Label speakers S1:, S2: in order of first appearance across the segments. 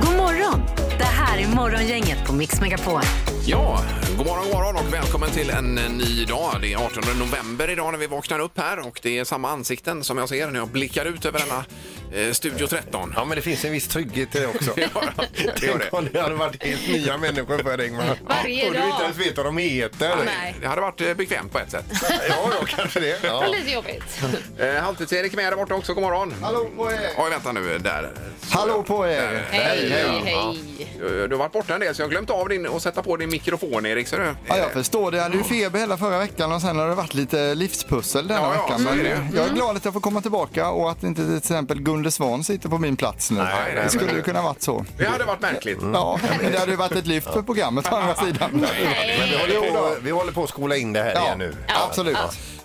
S1: God morgon! Det här är Morgongänget på Mix Megapol.
S2: Ja, god morgon, god morgon och välkommen till en eh, ny dag. Det är 18 november idag när vi vaknar upp här och det är samma ansikten som jag ser när jag blickar ut över denna eh, Studio 13.
S3: Ja, men det finns en viss trygghet i det också.
S2: Ja, det gör
S3: Tänk
S2: det.
S3: om det hade varit helt nya människor för dig, Ingmar.
S1: Varje
S3: Och du
S1: dag.
S3: inte ens vet vad de heter.
S1: Nej.
S2: Det hade varit eh, bekvämt på ett sätt.
S3: Ja, då kanske det. Ja.
S1: Lite jobbigt.
S2: Eh, Halvtids-Erik är med där borta också, god morgon.
S3: Hallå på er!
S2: Oj, vänta nu, där.
S3: Hallå på er!
S1: Hej, hej,
S2: Ja.
S1: hej.
S2: Du du har varit borta en del så jag har glömt av din och sätta på din mikrofon Erik. Så du,
S4: Ja, jag förstår det. Jag hade ju feber hela förra veckan och sen har det varit lite livspussel denna
S2: Ja, ja,
S4: veckan.
S2: så är
S4: Men
S2: det. Mm.
S4: jag är glad att jag får komma tillbaka och att inte till exempel Gunde Svan sitter på min plats nu.
S2: nej, Mm.
S4: det
S2: men-
S4: skulle ju kunna varit så.
S2: det hade varit märkligt.
S3: Mm.
S4: Ja, men det hade ju varit ett lyft för programmet å andra sidan.
S3: Men vi håller, på, vi håller på att skola in det här
S4: Ja,
S3: igen nu.
S4: absolut.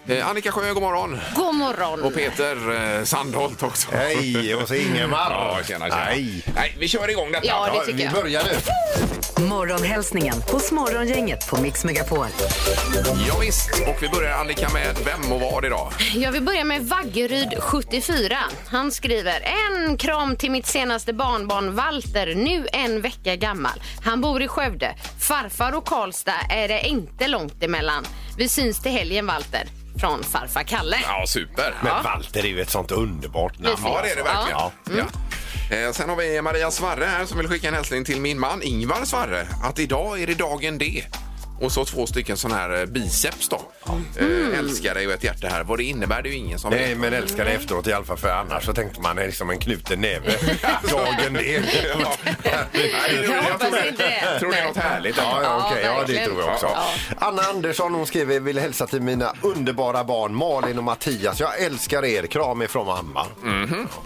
S2: Eh, Annika Sjö, god morgon.
S1: God morgon.
S2: Och Peter eh, Sandholt också.
S3: Hej, och så Ingemar.
S2: Ja, tjena, tjena.
S3: Nej.
S2: Nej, vi kör igång detta.
S1: Ja, det tycker
S3: Vi
S1: jag.
S3: börjar nu.
S1: Morgonhälsningen hos Morgongänget på Mix Megapol.
S2: Ja, visst. och vi börjar Annika med vem och vad idag?
S5: Jag vill börja med Vaggeryd 74. Han skriver en kram till mitt senaste barnbarn Walter, nu en vecka gammal. Han bor i Skövde. Farfar och Karlstad är det inte långt emellan. Vi syns till helgen Walter. Från farfar Kalle.
S2: Ja, super.
S3: Men Walter är ju ett sånt underbart namn.
S5: Precis.
S2: Ja, det är det verkligen. Ja.
S3: Ja.
S2: Eh, Sen har vi Maria Svarre här som vill skicka en hälsning till min man Ingvar Svarre att idag är det dagen D. Och så två stycken sån här eh, biceps då.
S5: Mm.
S2: Eh, älskar dig och ett hjärta här. Vad det innebär det är ju ingen som
S3: Nej,
S2: vet.
S3: men älskar det efteråt i alla fall, för annars så tänkte man är liksom en knuten näve. Dagen det.
S2: Ja. Nej,
S5: Jag
S2: jag
S5: hoppas
S2: tror-
S5: inte det.
S2: tror det är något härligt.
S3: Ja, ja, okej. ja, det
S5: verkligen.
S3: tror jag också.
S5: Ja.
S3: Anna Andersson hon skriver vill hälsa till mina underbara barn Malin och Mattias. Jag älskar er. Kram ifrån mamma.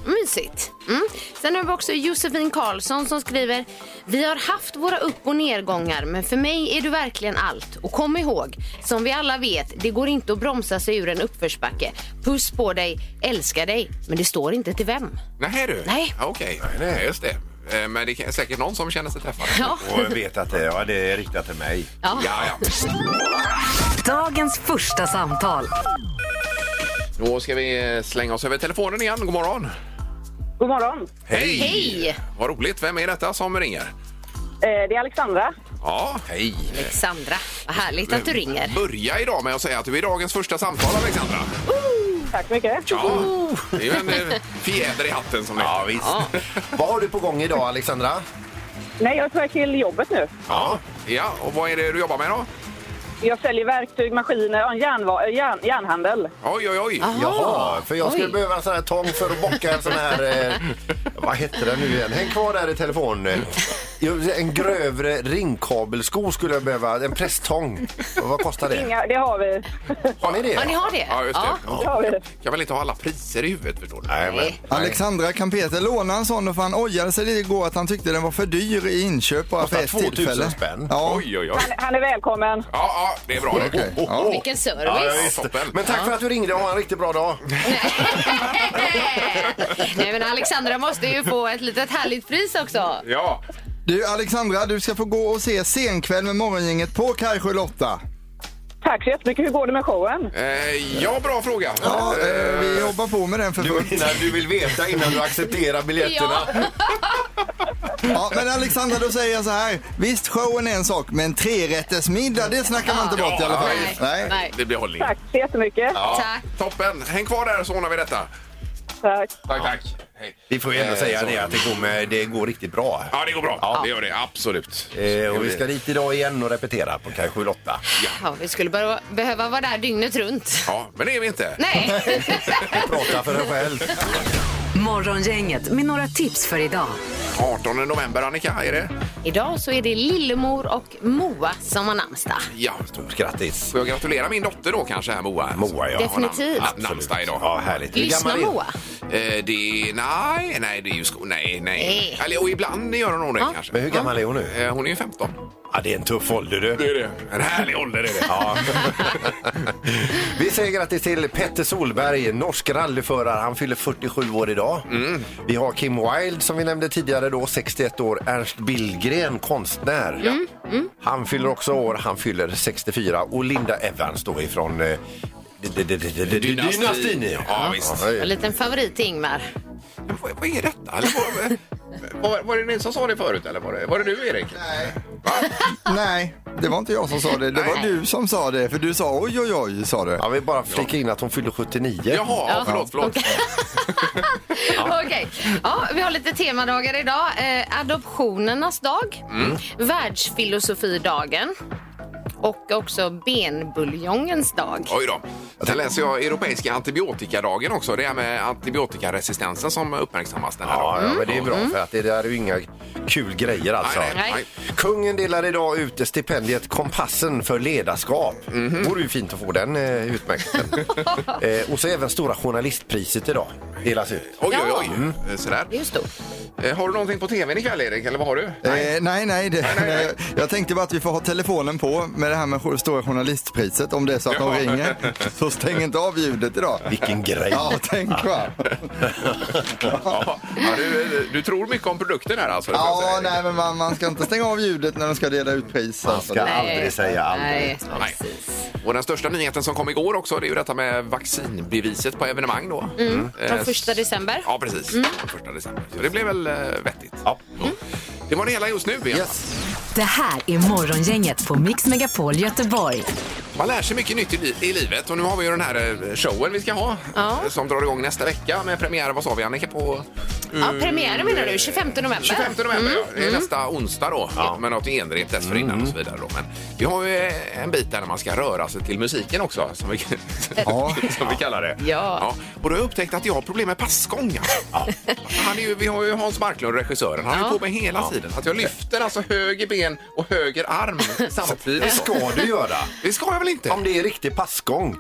S5: Mysigt. Mm. Sen har vi också Josefin Karlsson som skriver Vi har haft våra upp och nedgångar men för mig är du verkligen allt. Och kom ihåg, som vi alla vet, det går inte att bromsa sig ur en uppförsbacke. Puss på dig, älskar dig, men det står inte till vem.
S2: Nej du.
S5: Nej.
S2: Ja, Okej, nej, just det. Eh, Men det är säkert någon som känner sig träffad.
S5: Ja.
S3: Och jag vet att det, ja, det är riktat till mig.
S5: Ja.
S2: Ja, ja.
S1: Dagens första samtal.
S2: Då ska vi eh, slänga oss över telefonen igen. God morgon!
S6: God morgon.
S2: Hej!
S5: Hej!
S2: Vad roligt. Vem är detta som ringer?
S6: Eh, Det är Alexandra.
S2: Ja, hej.
S5: Alexandra, vad härligt att du ringer.
S2: Börja idag med att säga att du är dagens första samtal, Alexandra.
S6: Tack så mycket.
S2: Ja, det är ju en eh, fjäder i hatten som det
S3: Oh. Ja, visst. Vad har du på gång idag, Alexandra?
S6: Nej, jag är på väg till jobbet nu.
S2: Ja. ja, och vad är det du jobbar med då?
S6: Jag säljer verktyg, maskiner och en järnva- eh, järn, järnhandel.
S2: Oj, oj,
S3: Ah,
S2: oj.
S3: Jaha, för jag skulle
S5: Ah. Oj.
S3: behöva en sån här tång för att bocka en sån här... Eh, vad heter den nu igen? Häng kvar där i telefon. Jo, En grövre ringkabelsko skulle jag behöva. En presstång. Och Vad kostar det?
S6: Inga, det har vi.
S3: Har ni det?
S5: Ja, ni har det?
S2: Ja, just det.
S6: Det har vi.
S2: Kan väl inte ha alla priser i huvudet, förstår du?
S3: Nej, men,
S4: Alexandra kan Peter låna en sån för han ojade sig lite igår att han tyckte den var för dyr i inköp bara för
S3: Kostar
S4: ett
S3: 2000
S4: tillfälle.
S3: spänn.
S4: Ja,
S2: Oj, oj, oj.
S6: Han, han är välkommen.
S2: Ja, ja, det är bra. det.
S4: okej. Ja.
S5: Vilken
S3: Ja,
S5: service!
S3: ja, visst.
S2: Toppen.
S3: Men tack för att du ringde och ha en riktigt bra dag.
S5: Nej, men Alexandra måste ju få ett litet härligt pris också.
S2: Ja,
S4: Du Alexandra, du ska få gå och se Senkväll med Morgongänget på Kajsjö Lotta.
S6: Tack så jättemycket. Hur går det med showen?
S2: eh, ja bra fråga.
S4: Ja, eh, vi jobbar på med den för fullt.
S3: Du, innan du vill veta innan du accepterar biljetterna.
S4: Ja, men Alexandra, då säger jag så här. Visst, showen är en sak, men trerättersmiddag, det snackar man inte
S2: Ja,
S4: bort i alla fall.
S2: nej,
S5: Nej.
S2: Eh, Det blir hållning.
S6: Tack så jättemycket.
S2: Ja,
S5: Tack.
S2: Toppen. Häng kvar där så ordnar vi detta.
S6: Tack.
S2: Tack, tack. Hej.
S3: Vi får ju ändå
S2: Eh,
S3: säga
S2: så.
S3: det att det går, med, det går riktigt bra.
S2: Ja, det går bra. Det gör det. Absolut.
S3: Eh, och vi ska dit idag igen och repetera på kanske 8.
S5: Ja, vi skulle bara behöva vara där dygnet runt.
S2: Ja, men det är vi inte.
S5: Nej.
S3: Prata för dig själv.
S1: Morgongänget med några tips för idag.
S2: 18 november, Annika, är det?
S5: Idag så är det Lillemor och Moa som har namnsdag.
S2: Ja.
S3: Stort grattis.
S2: Får jag gratulera min dotter då kanske, här Moa?
S3: Moa, ja.
S5: Definitivt.
S2: Har nam- namnsdag idag.
S3: Ja, härligt. Hur
S5: Lyssna
S3: gammal är-
S5: Moa.
S2: Eh, det, nej, nej, det är ju sko- Nej, nej.
S5: Nej.
S2: Eller, och ibland gör hon nog det kanske.
S3: Men hur gammal är hon nu?
S2: Eh, hon är ju 15.
S3: Ja, det är en tuff ålder du.
S2: är det. En härlig ålder är det.
S3: Ja. Vi säger grattis till Petter Solberg, norsk rallyförare. Han fyller 47 år idag.
S2: Mm.
S3: Vi har Kim Wilde som vi nämnde tidigare då, 61 år. Ernst Billgren, konstnär. Han fyller också år, han fyller 64. Och Linda Evans då ifrån eh, d- d- d- d- d- d-
S2: Dynastin.
S3: Dynastin. ja.
S2: Ja, visst.
S5: En liten favorit till Ingmar.
S2: Men Vad, vad är detta? Eller, vad, vad, var det ni som sa det förut eller var det, var det du Erik? Nej.
S4: Nej, det var inte jag som sa det. Det var
S5: Nej.
S4: du som sa det. För du sa oj, oj, oj, sa du.
S3: Ja, vi bara flika in att hon fyller 79.
S2: Jaha, ja. förlåt, förlåt.
S5: Okej. Ja, vi har lite temadagar idag. Eh, adoptionernas dag, världsfilosofidagen och också benbuljongens dag.
S2: Oj då. Sen läser jag Europeiska antibiotikadagen också. Det är med antibiotikaresistensen som uppmärksammas den här
S3: Ja,
S2: dagen.
S3: ja, men det är bra för att det där är ju inga kul grejer alltså.
S2: Mm, Nej, nej,
S5: Nej.
S2: nej.
S3: Kungen delar idag ut stipendiet Kompassen för ledarskap. Vore ju fint att få den eh, utmärkelsen. eh, och så även Stora journalistpriset idag delas ut.
S2: Oj, oj,
S5: Ja.
S2: oj. Eh, Sådär.
S5: Det är ju stort.
S2: Eh, Har du någonting på tvn ikväll Erik, eller vad har du?
S4: Eh, nej, nej, det, Jag tänkte bara att vi får ha telefonen på med det här med Stora Journalistpriset. Om det är så att de
S2: Ja.
S4: ringer så stäng inte av ljudet idag.
S3: Vilken grej!
S4: Ja, tänk va.
S2: Ja, ja, du, du tror mycket om produkten här alltså? det får jag säga,
S4: Ja,
S2: Erik.
S4: nej, men man, man ska inte stänga av ljudet när de ska dela ut pris. alltså.
S3: ska aldrig säga aldrig.
S5: Nej,
S2: Nej.
S5: precis.
S2: Och den största nyheten som kom igår också, det är ju detta med vaccinbeviset på evenemang då.
S5: Mm,
S2: Mm. Eh,
S5: Från första december. Mm.
S2: Ja, precis. Den första december. Så det blev väl eh, vettigt. Mm.
S3: Ja.
S2: Det var det hela just nu. Bea.
S1: Det här är Morgongänget på Mix Megapol Göteborg.
S2: Man lär sig mycket nytt i, li- i livet och nu har vi ju den här eh, showen vi ska ha
S5: Ja.
S2: eh, som drar igång nästa vecka med premiär, vad sa vi Annika, på
S5: Ja, premiären menar du, 25 november?
S2: 25 november. ja. Det
S5: Mm.
S2: är nästa onsdag då, med något genrep dessförinnan och så vidare. Då. Men vi har ju eh, en bit där man ska röra sig till musiken också, som vi, som vi kallar det.
S5: Ja.
S2: Och då har jag upptäckt att jag har problem med passgångar. Han är ju, vi har ju Hans Marklund, regissören, han är
S5: Ja.
S2: på mig hela tiden. Att jag lyfter alltså höger ben och höger arm
S3: Det
S2: samtidigt.
S3: ska du göra!
S2: Det ska jag väl inte?
S3: Om det är riktig passgång.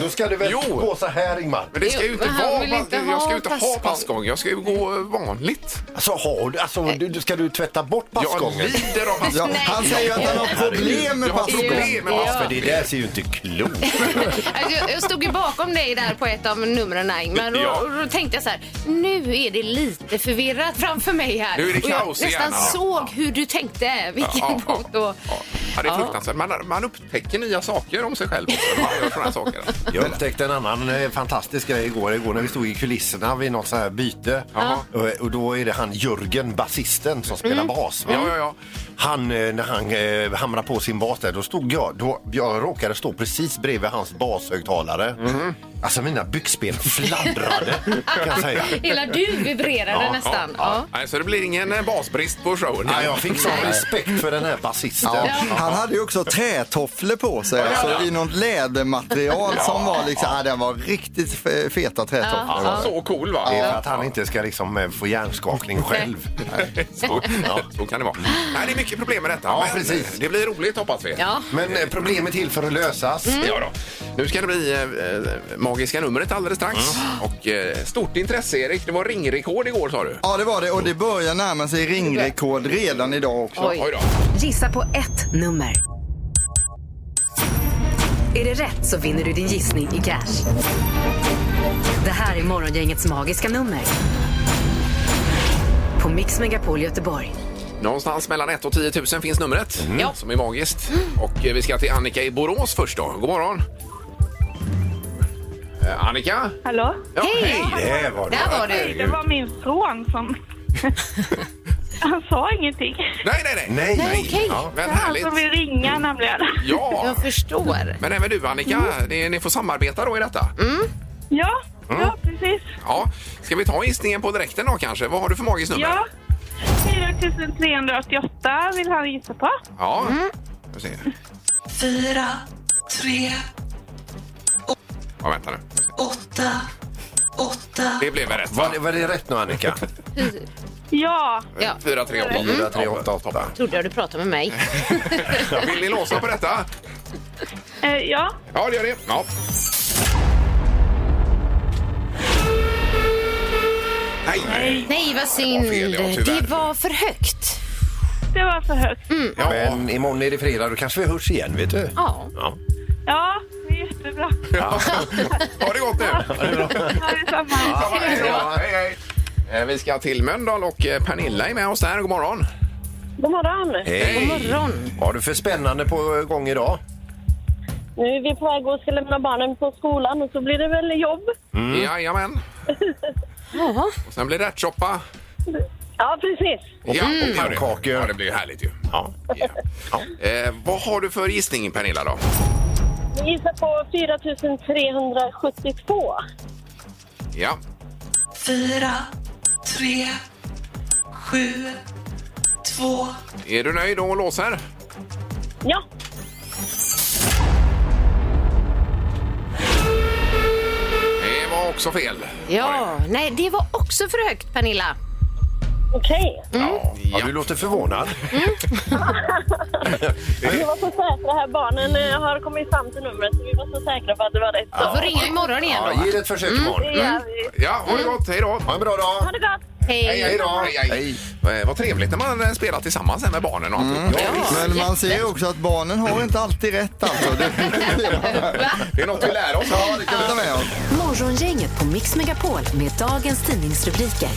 S3: Då ska du väl
S2: jo.
S3: gå så här Ingmar.
S2: Men det ska ju
S5: Jo,
S2: inte
S5: men han
S2: vara,
S5: vill inte
S2: jag ska ju
S5: ha
S2: inte ha
S5: passgång.
S2: passgång. Jag ska ju gå vanligt.
S3: Alltså, har du, alltså du, du- ska du tvätta bort passgången?
S2: Jag lider av
S4: Ja,
S2: passgång.
S4: han säger att han har problem med
S2: Jag har
S4: passgången.
S2: problem med passgång.
S3: För det där ser ju inte klokt
S5: Alltså, jag, jag stod ju bakom dig där på ett av numren, men då,
S2: Ja.
S5: då tänkte jag så här, nu är det lite förvirrat framför mig här.
S2: Nu är det
S5: Och jag
S2: kaos
S5: nästan
S2: igen, ja.
S5: såg hur du tänkte, vilken bok då.
S2: ja. Ja, det är
S5: Ja.
S2: fruktansvärt. Man, man upptäcker nya saker om sig själv också, när man gör såna här saker.
S3: Jag upptäckte en annan eh, fantastisk grej igår. Igår när vi stod i kulisserna vid något så här byte.
S2: Jaha.
S3: Och, och då är det han Jörgen, basisten, som spelar bas. va?
S2: Ja, ja, ja.
S3: Han, eh, när han eh, hamnade på sin bas där, då stod jag, då, jag råkade stå precis bredvid hans bashögtalare.
S5: Mhm.
S3: Alltså mina byxben fladdrade kan jag säga.
S5: Hela du vibrerade nästan. Ja.
S2: Nej, så det blir ingen eh, basbrist på showen.
S3: Ja, jag fick sån respekt för den här basisten.
S4: Ja. Han hade ju också trätofflor på sig, alltså i något lädermaterial som var liksom, ja, den var riktigt fe- feta trätofflor.
S2: Ja, Så cool, va?
S3: Det är för att han inte ska liksom eh, få hjärnskakning själv.
S2: Så, ja, så kan det vara. Nej, det är mycket problem med detta.
S3: Ja,
S2: men
S3: precis.
S2: Det blir roligt, hoppas vi.
S5: Ja.
S3: Men eh, problem är till för att lösas.
S5: Mm.
S2: Ja då. Nu ska det bli eh, magiska numret alldeles strax.
S3: Mm.
S2: Och eh, stort intresse, Erik. Det var ringrekord igår, sa du.
S4: Ja, det var det och det börjar närma sig ringrekord redan idag också.
S5: Oj.
S2: då.
S1: Gissa på ett nummer. Är det rätt så vinner du din gissning i cash. Det här är Morgongängets magiska nummer. På Mix Megapol Göteborg.
S2: Någonstans mellan 1 och 10 000 finns numret,
S5: Ja.
S2: som är magiskt. Och eh, vi ska till Annika i Borås först då. God morgon! Eh, Annika?
S6: Hallå?
S2: Ja,
S5: Hej!
S3: Det var det.
S5: Där var du.
S2: Herregud.
S6: Det var min son som... Han sa ingenting.
S2: Nej, nej, nej!
S3: Nej,
S5: Nej, okej.
S2: Ja, men
S6: Det är Han som
S2: härligt!
S6: vill ringa
S2: Mm.
S6: nämligen.
S2: Ja!
S5: Jag förstår.
S2: Men även du Annika, det, ni får samarbeta då i detta.
S6: Ja,
S2: Mm.
S6: ja precis.
S2: Ja. Ska vi ta gissningen på direkten då kanske? Vad har du för magiskt nummer?
S6: Ja. 4388 vill han gissa på.
S2: Ja. Ska vi se.
S7: Fyra, tre,
S2: ja, vänta nu.
S7: åtta, åtta.
S2: Det blev väl rätt va?
S3: Var det, var det rätt nu Annika?
S6: Ja,
S5: Ja.
S2: 438.
S3: Fyra, tre, åtta, åtta.
S5: Trodde jag du pratade med mig.
S2: Vill ni låsa på detta?
S6: eh, ja.
S2: Ja, det gör det. Ja. Nej, nej.
S5: Nej, vad synd.
S2: fel, ja, tyvärr.
S5: det var för högt.
S6: Det var för högt.
S2: Ja.
S3: Men imorgon är det fredag, då kanske vi hörs igen, vet du.
S5: Ja.
S6: Ja, det är jättebra.
S2: Ha det gott nu!
S6: Ja, detsamma.
S2: Ja, hej, hej. Eh, Vi ska till Mölndal och eh, Pernilla är med oss där. God morgon!
S6: God morgon.
S5: God
S3: Hej!
S5: morgon.
S3: Vad har du för spännande på gång idag?
S6: Nu är vi på väg och ska lämna barnen på skolan och så blir det väl jobb.
S2: Mm. Jajamän.
S5: Ja.
S2: Och sen blir det ärtsoppa.
S6: Ja, precis.
S2: Ja, och
S3: pannkakor.
S2: Ja, det blir ju härligt ju. Ja. Ja. Eh, vad har du för gissning Pernilla då?
S6: Vi gissar på 4372.
S2: Ja.
S7: fyra, tre, sju, två,
S2: Är du nöjd och låser?
S6: Ja,
S2: Det var också fel.
S5: ja. Nej, det var också för högt, Pernilla.
S6: okej.
S2: Ja.
S3: Ja, du låter förvånad.
S6: Vi var så säkra här. Barnen eh, har kommit fram till numret så vi var så säkra på att det var rätt.
S5: Du får ringa imorgon igen
S3: Ja,
S5: då.
S3: ge det ett försök
S5: Mm.
S3: imorgon. Mm.
S6: Ja, vi...
S2: Ja, ha det gott. Hej då!
S3: Ha en bra dag!
S6: Ha det gott!
S5: Hej.
S3: då.
S2: Hej, hej. Eh, vad trevligt när man eh, spelar tillsammans här med barnen och alltihop. Ja, visst.
S4: Men man ser också att barnen har inte alltid rätt alltså. Det,
S2: Det är något vi lär oss.
S4: ja, det kan vi ta med oss.
S1: Morgongänget på Mix Megapol med dagens tidningsrubriker.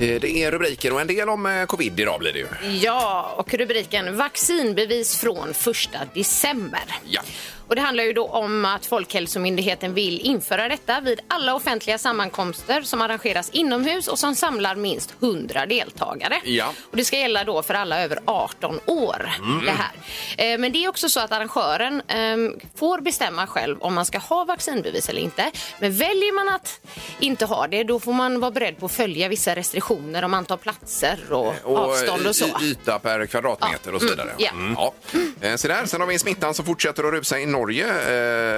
S2: Eh, Det är rubriker och en del om eh, covid idag blir det ju.
S5: Ja, och rubriken Vaccinbevis från 1 december.
S2: Ja.
S5: Och det handlar ju då om att Folkhälsomyndigheten vill införa detta vid alla offentliga sammankomster som arrangeras inomhus och som samlar minst 100 deltagare.
S2: Ja. Mm.
S5: Och det ska gälla då för alla över 18 år. Det här. Eh, Men det är också så att arrangören ehm, får bestämma själv om man ska ha vaccinbevis eller inte. Men väljer man att inte ha det, då får man vara beredd på att följa vissa restriktioner om antal platser och, avstånd och så.
S2: y- yta per kvadratmeter
S5: Ja.
S2: och så vidare.
S5: Mm, ja.
S2: Ja. Eh, Så där, sen har vi smittan som fortsätter att rusa i Norge.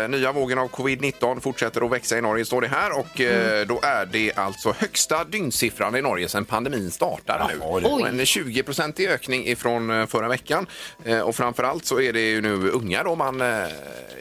S2: Eh, Nya vågen av covid-19 fortsätter att växa i Norge, står det här. Och eh,
S5: Mm.
S2: då är det alltså högsta dygnssiffran i Norge sedan pandemin startar nu.
S3: Jaha, det-
S2: Och En 20-procentig ökning ifrån eh, förra veckan. Eh, Och framförallt så är det ju nu unga då man eh, är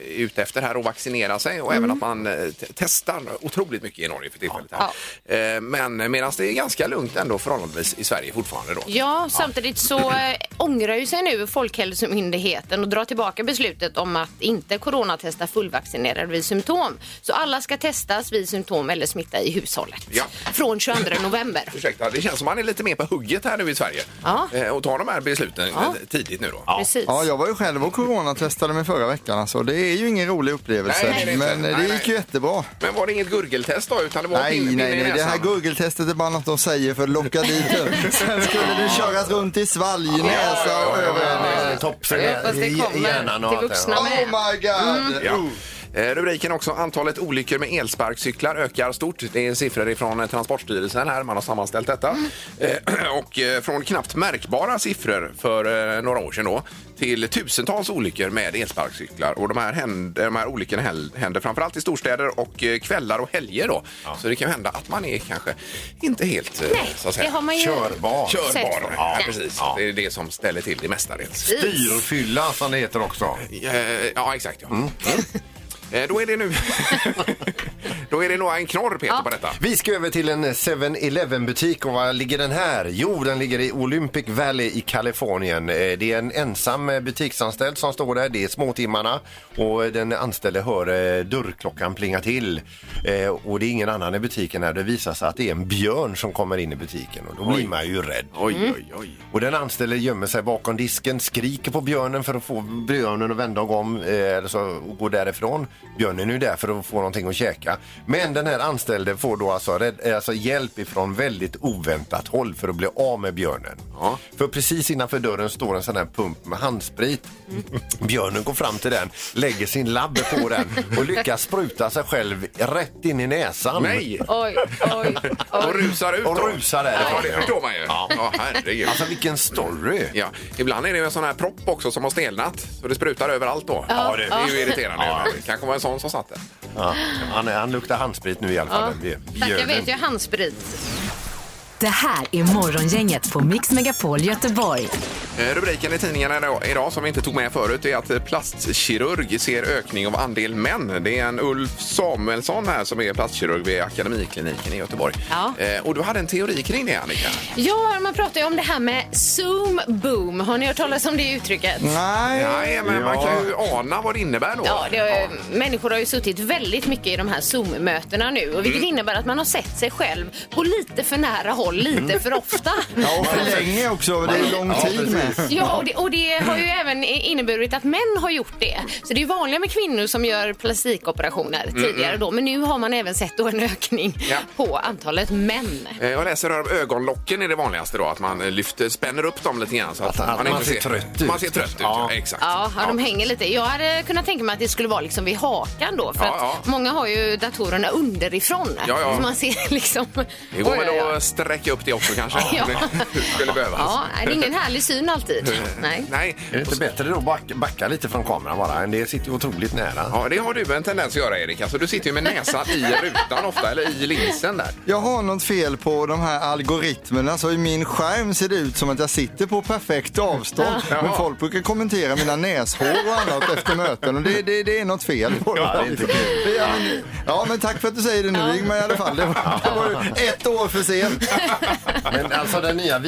S2: ute efter här och vaccinera sig och
S5: Mm.
S2: även att man eh, te- testar otroligt mycket i Norge för tillfället. Här. Eh, Men medan det är ganska lugnt ändå förhållandevis i Sverige fortfarande då.
S5: Ja, samtidigt så eh, ångrar ju sig nu Folkhälsomyndigheten och drar tillbaka beslutet om att inte coronatesta fullvaccinerade vid symptom. Så alla ska testas vid symptom eller smitta i hushållet.
S2: Ja.
S5: Från 22 november.
S2: Ursäkta, det känns som man är lite mer på hugget här nu i Sverige
S5: Ja.
S2: Eh, och tar de här besluten eh, tidigt nu då.
S5: Precis.
S4: Ja, jag var ju själv och coronatestade mig förra veckan alltså. Det är ju ingen rolig upplevelse.
S2: Nej, nej, det är inte.
S4: men det
S2: Nej, nej.
S4: gick ju jättebra.
S2: Men var det inget gurgeltest då? Utan det alltså. var
S4: Nej,
S2: pinne-
S4: nej,
S2: pinne
S4: nej.
S2: i
S4: Det
S2: näsan?
S4: här Google-testet är bara något de säger för att locka dit en. Sen skulle det köras runt i svalg, näsa och över.
S3: Topsen
S5: Jag hoppas det
S3: i
S5: kommer
S3: hjärnan
S5: till
S3: och allt det
S5: vuxna.
S3: här.
S4: Oh my god!
S2: Ja. Eh, Rubriken också, antalet olyckor med elsparkcyklar ökar stort. Det är siffror ifrån eh, Transportstyrelsen här, man har sammanställt detta. Eh, Och eh, från knappt märkbara siffror för eh, några år sedan då till tusentals olyckor med elsparkcyklar. Och de här, händer, de här olyckorna häl- händer framförallt i storstäder och eh, kvällar och helger då. Så det kan hända att man är kanske inte helt eh,
S5: Nej,
S2: så att
S5: det
S2: säga,
S5: har man ju...
S3: Körbar.
S2: körbar.
S5: Säkert.
S2: Ja,
S5: Nej.
S2: precis. Det är det som ställer till det mestadels.
S3: Styrfylla som det heter också.
S2: Eh, Ja, exakt. Ja. Eh, Då är det nu... Då är det nog en knorr, Peter, på detta.
S3: Vi ska över till en 7-Eleven butik och var ligger den här? Jo, den ligger i Olympic Valley i Kalifornien. Eh, Det är en ensam eh, butiksanställd som står där. Det är småtimmarna och eh, den anställde hör eh, dörrklockan plinga till. Eh, Och det är ingen annan i butiken här. Det visar sig att det är en björn som kommer in i butiken och då blir man ju rädd.
S2: Oj, oj, oj.
S3: Och den anställde gömmer sig bakom disken, skriker på björnen för att få björnen att vända om eh, eller så, och gå därifrån. Björnen är ju där för att få någonting att käka. Men den här anställde får då alltså, rädd, eh, alltså hjälp ifrån väldigt oväntat håll för att bli av med björnen.
S2: Ja.
S3: För precis innanför dörren står en sån här pump med handsprit.
S2: Mm.
S3: Björnen går fram till den, lägger sin labb på den och lyckas spruta sig själv rätt in i näsan.
S2: Nej!
S5: Oj, oj,
S2: Och
S5: oj.
S2: rusar ut.
S3: Och
S2: då.
S3: rusar där.
S2: Ja, det förstår man ju. Ja, herregud.
S3: Alltså vilken story!
S2: Ja, ibland är det ju en sån här propp också som har stelnat så det sprutar överallt då.
S3: Ja, det-
S2: det är ju irriterande. Det kanske var en sån som satt där.
S3: Ja, han, han luktar handsprit nu i alla fall. den björnen.
S5: Tack, jag vet ju handsprit.
S1: Det här är Morgongänget på Mix Megapol Göteborg.
S2: Eh, Rubriken i tidningarna idag- idag som vi inte tog med förut är att eh, plastkirurg ser ökning av andel män. Det är en Ulf Samuelsson här som är plastkirurg vid Akademikliniken i Göteborg.
S5: Ja. Eh.
S2: Eh, Och du hade en teori kring det Annika.
S5: Ja, man pratar ju om det här med zoom boom. Har ni hört talas om det uttrycket?
S4: Nej.
S2: Nej, men man kan ju ana vad det innebär då.
S5: Ja, det har, ju- Människor har ju suttit väldigt mycket i de här Zoom-mötena nu och
S2: Mm.
S5: vilket innebär att man har sett sig själv på lite för nära håll
S2: Mm.
S5: lite för ofta.
S4: Ja, och för länge också. Det är lång tid med.
S5: Ja, och det, och det har ju även inneburit att män har gjort det. Så det är vanligare med kvinnor som gör plastikoperationer tidigare då. Men nu har man även sett då en ökning
S2: Mm, Ja.
S5: på antalet män.
S2: Eh, Jag läser här om ögonlocken är det vanligaste då, att man eh, lyfter, spänner upp dem lite grann så att,
S3: Att- att man ser trött ut.
S2: Man ser trött ut, ja.
S3: Ja.
S2: exakt.
S5: Ja, ja, de hänger lite. Jag hade kunnat tänka mig att det skulle vara liksom vid hakan då. För
S2: Ja,
S5: att
S2: ja.
S5: många har ju datorerna underifrån.
S2: Ja, ja.
S5: Så man ser liksom...
S2: Det går
S5: Oj, oj,
S2: väl
S5: oj.
S2: att sträcka upp det också kanske.
S5: Ja.
S2: Det skulle behövas.
S5: Ja, nej, det är ingen härlig syn alltid. Nej.
S2: Nej.
S3: Är det inte bättre då att backa, backa lite från kameran bara? Det sitter ju otroligt nära.
S2: Ja, det har du en tendens att göra Erik. Alltså, du sitter ju med näsan i rutan ofta, eller i linsen där.
S4: Jag har något fel på de här algoritmerna så i min skärm ser det ut som att jag sitter på perfekt avstånd. Men folk brukar kommentera mina näshår och annat efter möten och det, det, det är något fel på dem.
S3: det är inte kul.
S4: Det är- Ja men tack för att du säger det nu Ingmar i alla fall. Det var, det var ju ett år för sent.
S3: Men alltså den nya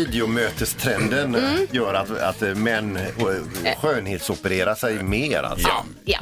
S3: videomötestrenden eh, gör att, att eh, män eh, skönhetsopererar sig mer. Alltså.
S2: Ja.
S5: Ja.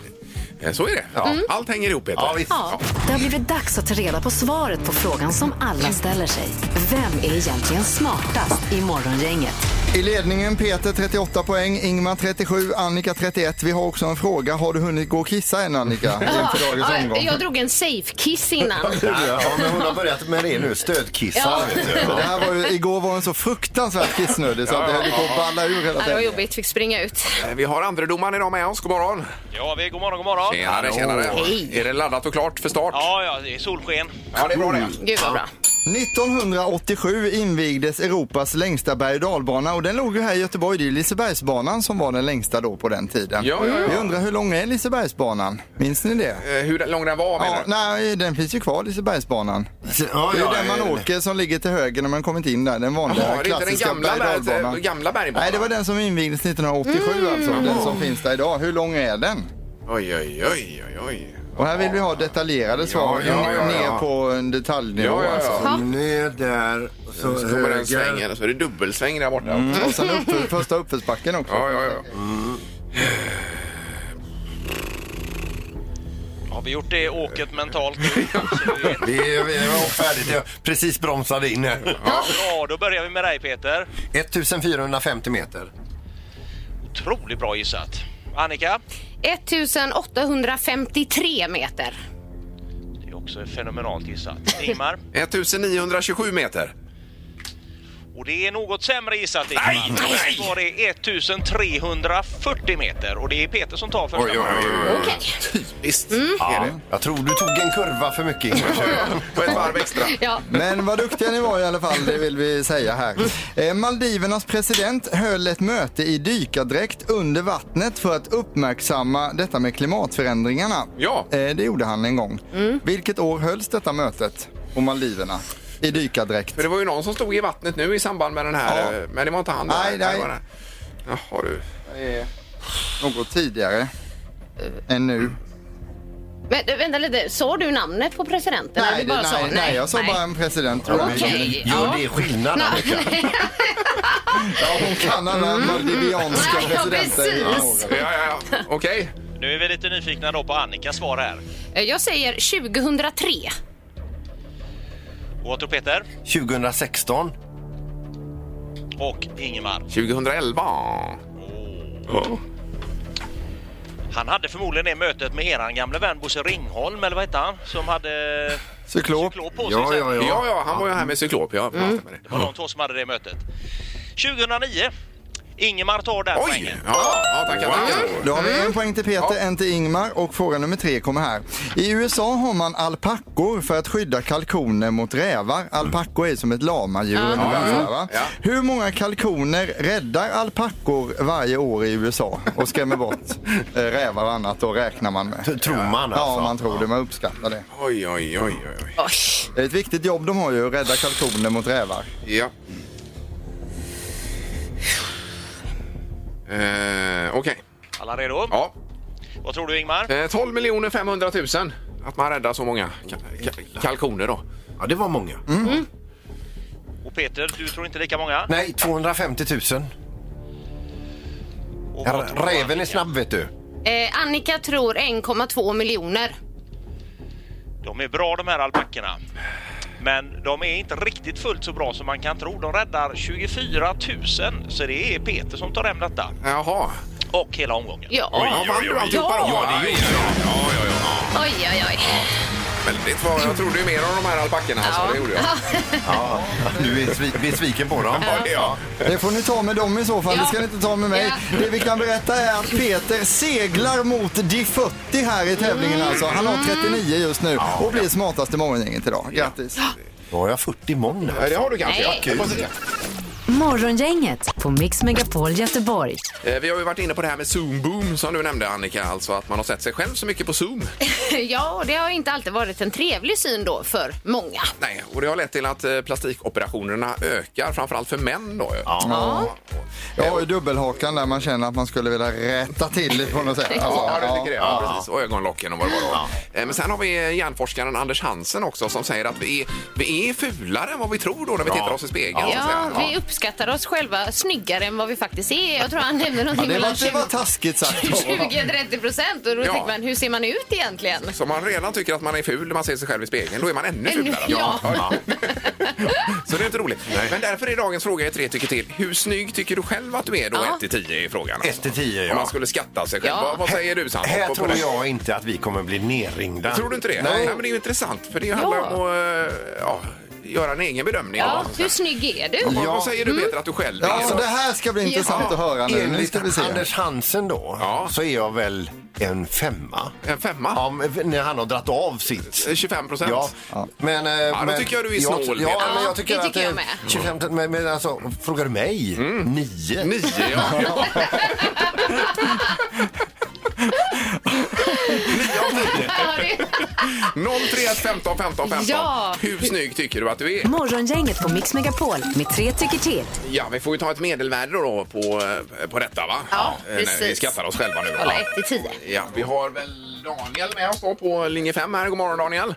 S2: Eh, Så är det. Allt hänger ihop Peter.
S3: Ja, visst.
S5: Mm. Ja.
S1: Det har blivit dags att ta reda på svaret på frågan som alla ställer sig. Vem är egentligen smartast i Morgongänget?
S4: I ledningen Peter 38 poäng, Ingmar 37, Annika 31. Vi har också en fråga. Har du hunnit gå och kissa än Annika inför
S5: Ja,
S4: dagens omgång?
S5: jag drog en safe-kiss innan.
S3: Ja, men hon har börjat med det nu, stödkissar.
S5: Ja.
S3: vet du.
S4: Det här var ju, igår var hon så fruktansvärt kissnödig så att det höll på att balla ur hela
S5: Ja, det var
S4: tiden.
S5: jobbigt, fick springa ut.
S2: Eh, Vi har andra domaren idag med oss. God morgon.
S7: Ja, vi, god morgon, god morgon.
S2: Tjenare, tjenare. Är det laddat och klart för start?
S7: Ja, ja, det är solsken.
S2: Ja, det är bra det.
S5: Gud vad bra.
S4: 1987 invigdes Europas längsta berg och dalbana och den låg ju här i Göteborg. Det är Lisebergsbanan som var den längsta då på den tiden.
S2: Ja, ja, ja.
S4: Jag undrar hur lång är Lisebergsbanan? Minns ni det?
S2: Eh, Hur lång den var
S4: Ja,
S2: menar du?
S4: nej, den finns ju kvar, Lisebergsbanan.
S3: Ja,
S4: Det är ju
S3: ja,
S4: den man
S3: ja.
S4: åker som ligger till höger när man kommit in där. Den vanliga
S2: Jaha, det är inte den
S4: klassiska
S2: gamla
S4: berg- och
S2: berg-
S4: dalbanan.
S2: gamla bergbanan? Mm.
S4: Nej, det var den som invigdes 1987 alltså. Den som finns där idag. Hur lång är den?
S2: Oj, oj, oj, oj, oj.
S4: Och här vill vi ha detaljerade svar.
S2: ja, ja, ja.
S4: Ner på en detaljnivå
S2: Ja, ja,
S4: alltså.
S2: ja.
S3: Ner där, så,
S2: Så kommer den svängen, så är det dubbelsväng där borta.
S4: Mm. Och sen upp, första uppförsbacken också.
S2: Ja, ja, ja.
S7: Har vi gjort det åket mentalt?
S3: Vi, vi var färdigt. Jag precis bromsade in här.
S7: Bra, då börjar vi med dig Peter.
S3: 1450 meter.
S7: Otroligt bra gissat. Annika?
S5: 1853 meter.
S7: Det är också fenomenalt gissat. Ingmar?
S2: 1927 meter.
S7: Och det är något sämre gissat Ingmar. Nej, nej! Svar är 1340 meter och det är Peter som tar första.
S5: Okej. Mm.
S2: Visst är det.
S3: Jag tror du tog en kurva för mycket Ingmar.
S2: Och ett varv extra.
S5: Ja.
S4: Men vad duktiga ni var i alla fall, det vill vi säga här. Eh, Maldivernas president höll ett möte i dykardräkt under vattnet för att uppmärksamma detta med klimatförändringarna.
S2: Ja. Mm.
S4: Eh, Det gjorde han en gång. Vilket år hölls detta mötet på Maldiverna? I dykardräkt.
S2: För det var ju någon som stod i vattnet nu i samband med den
S4: Ja.
S2: här, eh, men det var inte han.
S4: Nej,
S2: Det
S4: nej.
S2: var den. Jaha du.
S4: Något tidigare Eh, än nu.
S2: Mm.
S5: Men du, vänta lite, sa du namnet på presidenten? eller du bara
S4: det-
S5: sa-
S4: nej, nej, jag sa bara en president. Okej.
S5: Okej.
S3: Gör
S5: Ja.
S3: det skillnad Annika?
S4: Ja, hon kan alla maldivianska
S5: Mm. Ja,
S4: presidenter. i
S5: precis.
S4: några år.
S2: Ja, ja, ja. Okej.
S7: Nu är vi lite nyfikna då på Annikas svar här.
S5: Eh, Jag säger 2003.
S7: Och vad tror Peter?
S3: 2016.
S7: Och Ingemar.
S2: 2011.
S7: Han hade förmodligen det mötet med eran gamle vän Bosse Ringholm, eller vad hette han? Som hade
S4: Cyklop.
S7: cyklop på sig. sen.
S2: Ja, Mm. ja, han var ju här med cyklop. Jag pratade med
S7: Det
S2: det.
S7: var de två som hade det mötet. 2009. Ingemar tar den
S2: Oj!
S7: poängen.
S2: Ja, ja tackar, tackar.
S4: Då har vi en poäng till Peter, en till Ingmar och fråga nummer tre kommer här. I USA har man alpackor för att skydda kalkoner mot rävar. Alpackor är som ett lamadjur ungefär så här, va?
S2: Ja.
S4: Hur många kalkoner räddar alpackor varje år i USA och skrämmer bort eh, rävar och annat då räknar man med?
S3: Tror man alltså.
S4: Ja, man tror det, man uppskattar det.
S2: Oj, oj, oj, oj, oj.
S5: Oj.
S4: Det är ett viktigt jobb de har ju, att rädda kalkoner mot rävar.
S2: Ja. Eh, Okej.
S7: Alla redo?
S2: Ja.
S7: Vad tror du Ingmar?
S2: Eh, 12 miljoner 500 000. Att man räddar så många ka ka kalkoner då. Mm.
S3: Ja, det var många.
S7: Och Peter, du tror inte lika många?
S3: Nej, 250 000.
S7: Och
S3: Ja,
S7: vad tror du,
S3: Räven är
S7: Annika?
S3: snabb vet du.
S5: Eh, Annika tror 1,2 miljoner.
S7: De är bra de här alpackorna. Men de är inte riktigt fullt så bra som man kan tro. De räddar 24 000, så det är Peter som tar hem detta.
S2: Jaha.
S7: Och hela omgången.
S5: Ja.
S2: Ja, vann du alltihopa då?
S5: Ja.
S2: Ja, det gjorde jag. Ja, ja, ja.
S5: Oj, oj, oj.
S2: Väldigt vad jag trodde ju mer om de här alpackorna. Ja. Så det gjorde jag.
S3: Du är svi- besviken på dem.
S2: Ja. Ja.
S4: Det får ni ta med dem i så fall, det ska ni inte ta med mig.
S5: Ja.
S4: Det vi kan berätta är att Peter seglar mot de 40 här i tävlingen alltså. Han
S2: Mm.
S4: har 39 just nu och blir smartast i morgongänget idag. Grattis!
S3: Då har jag 40 mån.
S2: Ja, Det har du kanske.
S5: Nej.
S2: Ja. Vi får se.
S1: Morgongänget på Mix Megapol Göteborg.
S2: Eh, Vi har ju varit inne på det här med Zoom Boom som du nämnde Annika, alltså att man har sett sig själv så mycket på Zoom.
S5: Ja, och det har inte alltid varit en trevlig syn då för många.
S2: Nej, och det har lett till att eh, plastikoperationerna ökar, framförallt för män då. Ja.
S4: Jag har ju dubbelhakan där man känner att man skulle vilja rätta till det på något sätt. Alltså,
S2: Ja, du
S4: ja.
S2: tycker det? Ja, precis. Och ögonlocken och vad det var då. Eh, Men sen har vi hjärnforskaren Anders Hansen också som säger att vi är, vi är fulare än vad vi tror då när vi tittar oss i spegeln. så att
S5: Ja,
S2: säga.
S5: vi uppskattar oss själva snyggare än vad vi faktiskt är. Jag tror han nämnde
S4: Ja,
S5: någonting
S4: det,
S5: mellan
S4: var, det var
S5: 20
S4: taskigt sagt.
S5: 20-30 procent och då
S2: Ja.
S5: tänker man, hur ser man ut egentligen?
S2: Så om man redan tycker att man är ful när man ser sig själv i spegeln, då är man ännu
S5: Ännu-
S2: fulare.
S5: ja.
S2: Så det är inte roligt. Men därför är dagens fråga i tre tycker till. Hur snygg tycker du själv att du är då?
S5: Ja.
S2: 1 till 10 är frågan. alltså.
S3: 1 till 10
S2: Om
S3: ja.
S2: man skulle skatta sig själv.
S5: Ja.
S2: Vad, vad säger du Sandra?
S3: Här
S2: På- på
S3: tror
S2: den?
S3: jag inte att vi kommer bli nerringda.
S2: Tror du inte det? Nej.
S3: Nej.
S2: men det är ju intressant för det handlar om att eh, ja, göra en egen bedömning.
S5: Ja,
S2: Vad-
S5: hur snygg är du?
S2: Vad, vad säger du Peter att du själv
S4: Ja,
S2: är?
S4: alltså, det här ska bli intressant
S2: Ja.
S4: att höra nu. Nu ska vi
S3: Enligt
S4: se.
S3: Anders Hansen då,
S2: Ja.
S3: så är jag väl en femma.
S2: En femma?
S3: Ja, men när han har dratt av sitt.
S2: 25 procent?
S3: Ja, men... eh,
S2: då
S3: men
S2: tycker jag du är
S3: jag-
S2: snål,
S3: Ja,
S2: Peter.
S5: Ja,
S3: men jag tycker
S5: det tycker
S3: att...
S5: jag
S3: eh,
S5: med.
S3: 25, men, men alltså, frågar du mig? Nio.
S2: Nio, ja. ja.
S5: Ja,
S2: Nio av tio.
S5: det-
S2: 031 15 15 15.
S5: Ja.
S2: Hur snygg tycker du att du är?
S1: Morgongänget på Mix Megapol med tre tycker till.
S2: Ja, vi får ju ta ett medelvärde då på, eh, på detta va?
S5: Ja,
S2: Eh, när Vi
S5: precis.
S2: skrattar oss själva nu. då.
S5: Alla 1 till 10.
S2: Ja, vi har väl Daniel med oss då på linje 5 här. God morgon Daniel.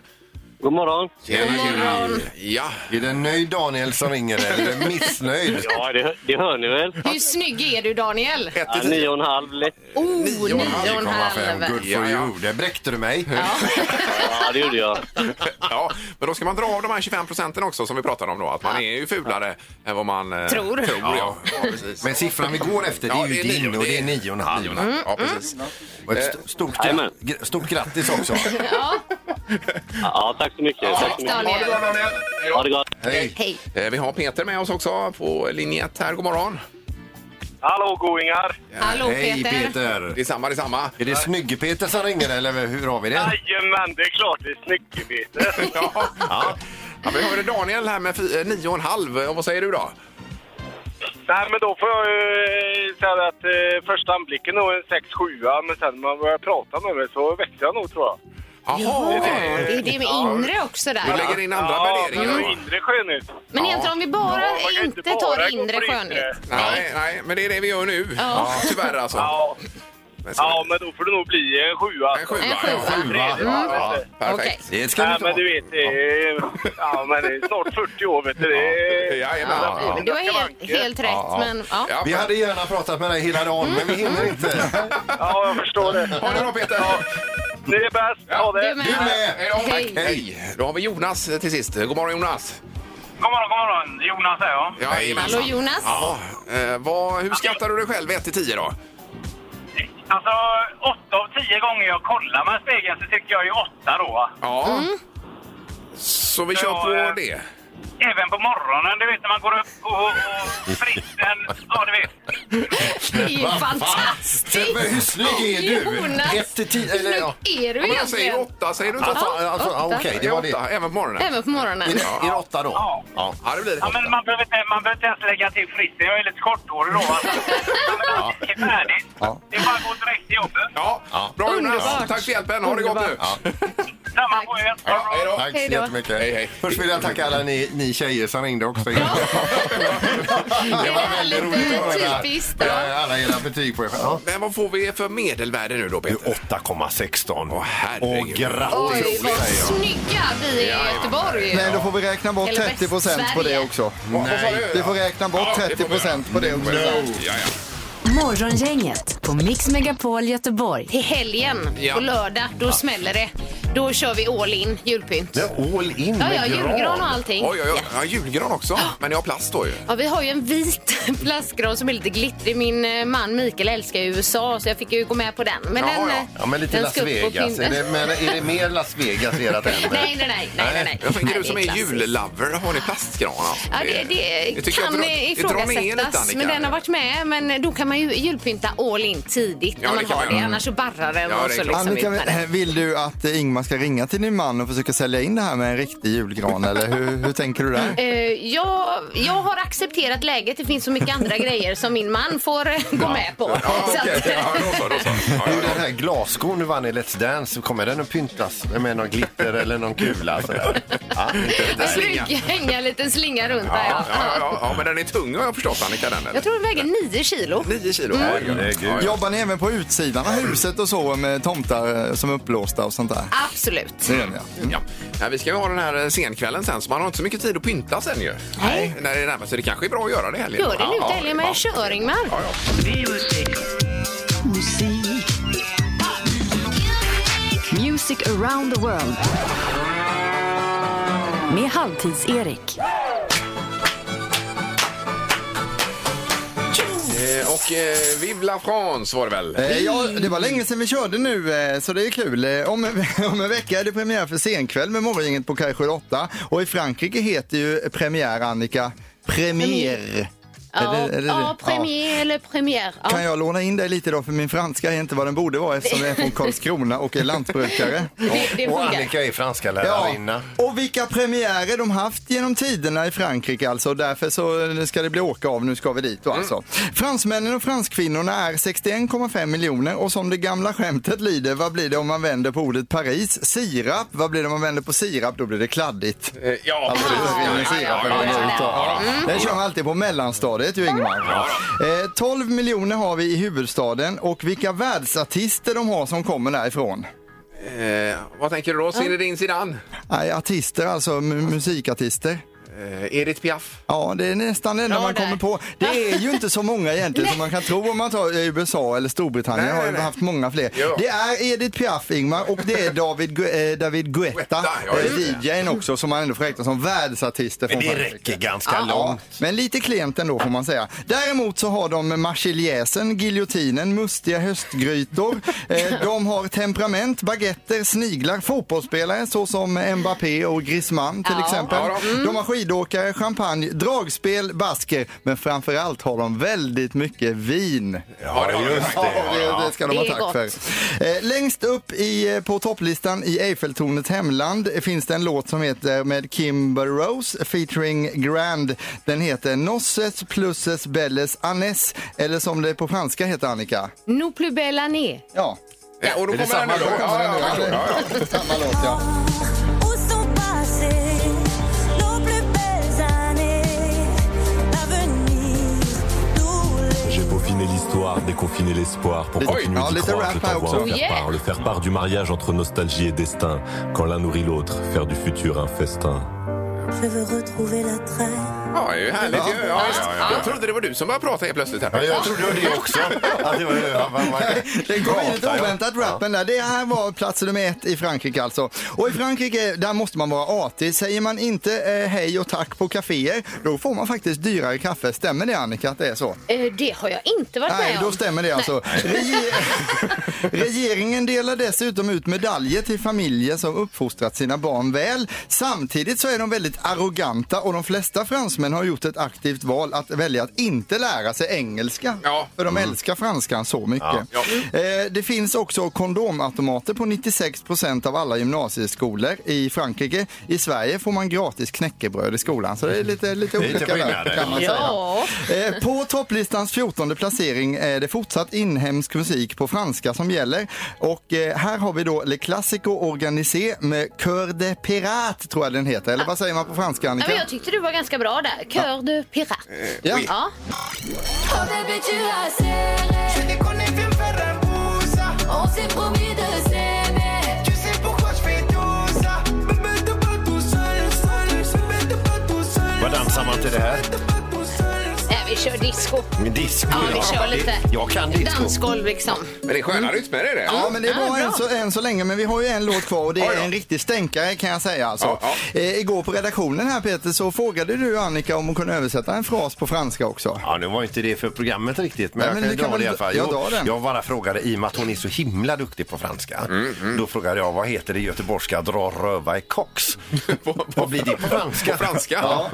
S8: God morgon.
S2: God morgon. Ja,
S3: Är det nöjd Daniel som ringer eller är det missnöjd?
S8: Ja, det, det hör ni väl?
S5: Hur snygg är du Daniel?
S2: ett
S8: Ja,
S2: till tio.
S8: nio och en halv lätt.
S5: Oh, nio och en
S3: 9,5.
S5: halv.
S3: Good for
S2: Ja, ja.
S3: you. Där bräckte du mig.
S8: Ja, det gjorde jag.
S2: Ja, men då ska man dra av de här 25 procenten också som vi pratade om då. Att man är ju fulare än vad man eh,
S5: Tror.
S2: tror ja.
S3: Ja.
S2: Ja, precis.
S3: Men siffran vi går efter det är
S2: Ja,
S3: ju
S2: det är nio,
S3: din och det är
S2: det är-
S3: 9,5.
S2: Mm. Ja, precis.
S5: Mm.
S3: Och ett st- stort,
S8: Jajamän.
S3: gra- gr- stort grattis också.
S8: Ja, tack så mycket. Tack så mycket.
S2: Ha det bra, Daniel. Hej då.
S8: Ha det gott.
S3: Hej.
S5: Hej.
S2: Eh, Vi har Peter med oss också på linje 1 här. God morgon.
S8: Hallå, goingar!
S5: Hallå
S3: Hej
S5: Peter.
S3: Peter.
S2: Detsamma, detsamma.
S3: Är det snygge-Peter som ringer eller hur har vi det?
S8: Jajamän, det är klart det är snyggebetet.
S2: Ja. Ja. vi har ju Daniel här med fi- eh, nio och en halv. Och vad säger du då?
S8: Nej, men då får jag ju säga att eh, första anblicken nog en 6-7, men sen när man börjar prata med mig så växer jag nog tror jag.
S2: Jaha,
S5: Ja,
S2: okej.
S5: det är det med inre också
S2: Du
S5: där.
S2: lägger in andra
S8: men
S2: värderingar.
S8: det är
S2: va?
S8: inre skönhet.
S5: Men egentligen om vi bara
S8: Ja, man kan
S5: inte
S8: bara
S5: tar
S8: gå
S5: inre
S8: på
S5: skönhet.
S2: Nej, nej, men det är det vi gör nu. Ja. Tyvärr alltså.
S8: Ja,
S2: Men så-
S8: ja, men då får det nog bli en sjua.
S2: En sjua.
S5: En
S2: ja.
S5: sjua.
S8: Tredje, ja.
S5: Okej.
S2: Perfekt.
S3: Det ska
S8: Nej,
S3: vi
S8: men
S3: ta.
S8: du vet, det är, ja, men det är snart 40 år, vet du. Det är,
S2: Jajamän.
S8: Ja.
S5: Du har helt, helt rätt, men ja.
S2: Ja,
S3: Vi hade gärna pratat med dig hela dagen men vi hinner
S5: Mm.
S3: inte.
S8: ja, jag förstår det.
S2: Ha det bra Peter!
S8: Ni är bäst. Ha det.
S5: Du med.
S2: Hej då!
S5: Hej.
S2: Tack. Hej! Då har vi Jonas eh, till sist. God morgon Jonas!
S8: God morgon, god morgon. Jonas här, ja.
S2: Ja,
S5: Hallå Jonas.
S2: Ja, eh, vad, hur skattar du dig själv 1 till 10 då?
S8: Alltså, åtta av tio gånger jag kollar med
S5: Mm.
S8: spegeln så tycker jag ju åtta då. va?
S2: Ja. Så vi
S8: Ja,
S2: kör på
S8: eh,
S2: det.
S8: Även på morgonen, du vet när man går upp och, och fritten, ja du vet.
S5: Det är ju
S3: Vad fan?
S5: fantastiskt!
S3: Men hur snygg är du?
S5: Jonas,
S3: Efter tio, eller ja.
S5: hur snygg är du
S2: Men jag säger
S5: egentligen?
S2: åtta, säger du inte
S3: Alltså,
S2: åtta?
S5: Ja,
S3: alltså, ja,
S5: åtta.
S3: Okej, det var det.
S2: åtta, även på morgonen.
S5: Även på
S3: Är
S5: morgonen.
S3: det, är det åtta då?
S8: Ja.
S3: Ja.
S2: Ja, det blir det.
S8: Ja, men man behöver, inte, man behöver inte ens lägga till fritten, jag är lite korthårig då. Alltså. Ja, men det är färdigt. Det är bara att gå direkt till jobbet.
S2: Ja, bra Jonas.
S5: Underbart.
S2: Tack för hjälpen. Ha det gott nu.
S8: Samma på er.
S2: Ja, hej då.
S3: Tack så
S5: Hej då.
S3: jättemycket.
S2: Hej, hej.
S3: Först vill jag tacka alla ni, ni tjejer som ringde också. Ja.
S5: Det var lite typiskt. då?
S3: Alla era betyg på er själva.
S2: Men vad får vi för medelvärde nu då,
S3: Du
S2: Peter?
S3: 8,16. Åh
S2: herregud.
S3: grattis!
S5: Oj, vad snygga vi är i Göteborg.
S4: Nej, då får vi räkna bort
S5: Eller
S4: 30 procent på
S5: Västsverige.
S4: det också.
S2: Nej.
S4: Vi får Mm. räkna bort 30 procent på det också.
S2: Ja, ja.
S1: Morgongänget på Mix Megapol Göteborg.
S5: Till helgen,
S2: Ja.
S5: på lördag, då smäller det. Då kör vi all in julpynt.
S3: Det är all in
S5: Ja, ja,
S3: med
S5: julgran och allting.
S2: Oj, oj, oj. Ja, julgran också. Men jag har plast då ju.
S5: Ja, vi har ju en vit plastgran som är lite glittrig. Min eh, man Mikael älskar ju USA så jag fick ju gå med på den. Men
S2: Ja,
S5: den,
S2: ja.
S5: eh,
S3: Ja, men lite
S5: den
S3: Las
S5: ska upp på
S3: Vegas. Är
S5: pinnen.
S3: det, men är det mer Las Vegas i ert hem?
S5: Nej, nej, nej. nej, nej, nej.
S2: Jag tänker
S5: Nej,
S2: du som
S5: det
S2: är
S5: klassiskt.
S2: jullover, har ni plastgran alltså?
S5: Ja, det, det,
S2: tycker jag
S5: kan eh,
S2: drar- det drar ner lite,
S5: ifrågasättas,
S2: Annika.
S5: men den har varit med. Men då kan man ju julpynta all in tidigt
S2: Ja,
S5: när man
S2: det kan
S5: har
S2: man
S5: det.
S2: göra.
S5: Annars så barrar den.
S2: Ja,
S5: och
S2: det är
S5: så
S2: klart.
S5: liksom
S4: Annika,
S5: ut med den.
S4: men, vill du att eh, Ingmar ska ringa till din man och försöka sälja in det här med en riktig julgran eller hur, hur tänker du där?
S5: Eh, jag, jag har accepterat läget. Det finns så mycket andra grejer som min man får eh, gå med på.
S2: Ja,
S5: Så att-
S2: okej. Ja, då så, då så. Ja,
S3: Du,
S2: ja,
S3: den här glasskon du vann i Let's Dance, så kommer den att pyntas med någon glitter eller någon kula? Sådär. Ja, inte,
S5: Jag
S3: nej.
S5: skulle hänga en liten slinga runt
S2: ja,
S5: där.
S2: ja,
S5: Ja.
S2: ja, ja, ja, men den är tung har jag förstått, Annika. Den, eller?
S5: Jag tror Mm. den väger 9 kilo.
S2: 9 kilo.
S3: Herregud.
S2: Ja, ja.
S4: Jobbar ni även på utsidan av huset och så med tomtar eh, som är uppblåsta och sånt där?
S5: Absolut.
S4: Det gör ni, ja.
S2: Ja. Ja, vi ska ju ha den här senkvällen sen, så man har inte så mycket tid att pynta sen ju. Nej. När det närmar sig. Det kanske är bra att göra det i helgen.
S5: Gör det nu till helgen, men jag kör Ingmar.
S2: Ja, ja.
S1: Music around the world. Med Halvtids-Erik.
S2: Eh, Och eh, Vive la France var det väl?
S4: Eh, Ja, det var länge sedan vi körde nu, eh, så det är kul. Eh, Om, en- om en vecka är det premiär för Senkväll med Morgongänget på Kaj 8. Och i Frankrike heter ju premiär, Annika, Premiär.
S5: Ja,
S4: Är det- är det-
S5: ja,
S4: ja.
S5: premiär eller premiär.
S4: Kan
S5: Ja.
S4: jag låna in dig lite då? För min franska är inte vad den borde vara eftersom jag är från Karlskrona och är lantbrukare.
S5: Det, det
S3: Och
S5: funkar.
S3: Annika är franska lärarinna.
S4: Och vilka premiärer de haft genom tiderna i Frankrike alltså. Och Därför så ska det bli åka av. Nu ska vi dit då alltså. Fransmännen och franskvinnorna är 61,5 miljoner och som det gamla skämtet lyder, vad blir det om man vänder på ordet Paris? Sirap. Vad blir det om man vänder på sirap? Då blir det kladdigt.
S2: Eh, Ja,
S4: Alltså, det är ren
S2: precis.
S4: sirap. Den kör man alltid på mellanstadiet ju Ingemar. Eh, 12 miljoner har vi i huvudstaden och vilka världsartister de har som kommer därifrån.
S2: Eh, Vad tänker du då? Zinedine Zidane?
S4: Nej, artister alltså, mu- musikartister.
S2: Eh, Edith Piaf?
S4: Ja, det är nästan det enda
S5: Ja,
S4: man
S5: där.
S4: kommer på. Det är ju inte så många egentligen som man kan tro om man tar eh, USA eller Storbritannien.
S2: Nej,
S4: har ju
S2: nej.
S4: haft många fler.
S2: Ja.
S4: Det är Edith Piaf, Ingmar, och det är David, Gu- eh, David Guetta,
S2: Guetta, ja, just
S4: eh, DJn också, som man ändå får räkna som världsartister
S3: Men
S4: från
S3: det
S4: Frankrike.
S3: räcker ganska
S4: Ja,
S3: långt.
S4: men lite klent ändå får man säga. Däremot så har de marsiljäsen, giljotinen, mustiga höstgrytor. Eh, De har temperament, baguetter, sniglar, fotbollsspelare såsom Mbappé och Griezmann till
S5: Ja.
S4: exempel.
S2: Ja, då. Mm.
S4: De har skidåkare, champagne, dragspel, basker. Men framför allt har de väldigt mycket vin.
S2: Ja, det har jag.
S4: Ja, det, det ska de ha
S5: Det är
S4: tack
S5: gott.
S4: för. Eh, längst upp i, eh, på topplistan i Eiffeltornets hemland eh, finns det en låt som heter med Kimber Rose featuring Grand. Den heter Nosses plusses belles annes eller som det på franska heter Annika.
S5: No plus belle année.
S4: Ja,
S2: Eh, Och då
S3: Är det
S2: kommer
S3: samma
S2: den nu då?
S3: låt?
S2: Ja, ja, ja, ja, ja.
S4: samma låt ja.
S8: J'ai peaufiné l'histoire, déconfiné l'espoir pour
S4: Lite-
S8: continuer
S4: ja,
S8: d'y
S4: lite
S8: croire,
S4: rap
S8: je
S4: här
S8: t'envoie
S4: också.
S8: en faire
S5: Oh, yeah.
S8: part, le faire part du mariage entre nostalgie et destin, quand l'un nourrit l'autre, faire du futur un festin.
S6: Je veux retrouver l'attrait
S2: Ja, det är ju härligt ju. ja, visst. Jag trodde det var du som började prata helt plötsligt här.
S3: Ja, jag trodde det också. Att det var, ja, man, man,
S4: Den kom in lite
S3: pratar, ja.
S4: oväntat, rappen där. Det här var plats nummer ett i Frankrike alltså. Och i Frankrike, där måste man vara artig. Säger man inte eh, hej och tack på kaféer, då får man faktiskt dyrare kaffe. Stämmer det Annika att det är så?
S5: Eh, Det har jag inte varit
S4: Nej,
S5: med om.
S4: då stämmer det alltså. Rege- Regeringen delar dessutom ut medaljer till familjer som uppfostrat sina barn väl. Samtidigt så är de väldigt arroganta och de flesta fransmän har gjort ett aktivt val att välja att inte lära sig engelska.
S2: Ja.
S4: För de älskar franskan så mycket.
S2: Ja.
S4: Eh, Det finns också kondomautomater på 96 procent av alla gymnasieskolor i Frankrike. I Sverige får man gratis knäckebröd i skolan, så det är lite, lite
S3: är lite
S4: olika där
S3: skillnader.
S4: kan man säga.
S5: Ja.
S4: Eh, På topplistans 14 placering är det fortsatt inhemsk musik på franska som gäller. Och eh, här har vi då Le Classico Organisé med Cœur de Pirate tror jag den heter. Eller vad säger man på franska
S5: Nej,
S4: Annika?
S5: men jag tyckte du var ganska bra där. Cœur de pirate.
S4: Ja.
S5: Ja.
S3: Vad dansar man till det här?
S5: Nej, Äh, vi kör disco.
S3: Disco,
S5: Ja, vi kör lite.
S3: Jag kan disco.
S5: Dansgolv liksom.
S2: Men det är sköna rytmer är det.
S4: Ja, men det är bra, Än, så, än så länge, men vi har ju en låt kvar och det
S2: Ja, ja.
S4: är en riktig stänkare kan jag säga. Alltså.
S2: Ja,
S4: Eh, igår på redaktionen här Peter så frågade du Annika om hon kunde översätta en fras på franska också.
S3: Ja, nu var inte det för programmet riktigt, men
S4: Nej, men
S3: jag
S4: du
S3: kan
S4: kan
S3: ju dra det i
S4: väl
S3: alla fall.
S4: dra- jag
S3: Jo,
S4: drar den.
S3: jag bara frågade, i och med att hon är så himla duktig på franska, då frågade jag vad heter det i göteborgska dra röva i kox? Vad blir det på franska?
S2: På franska? Ja.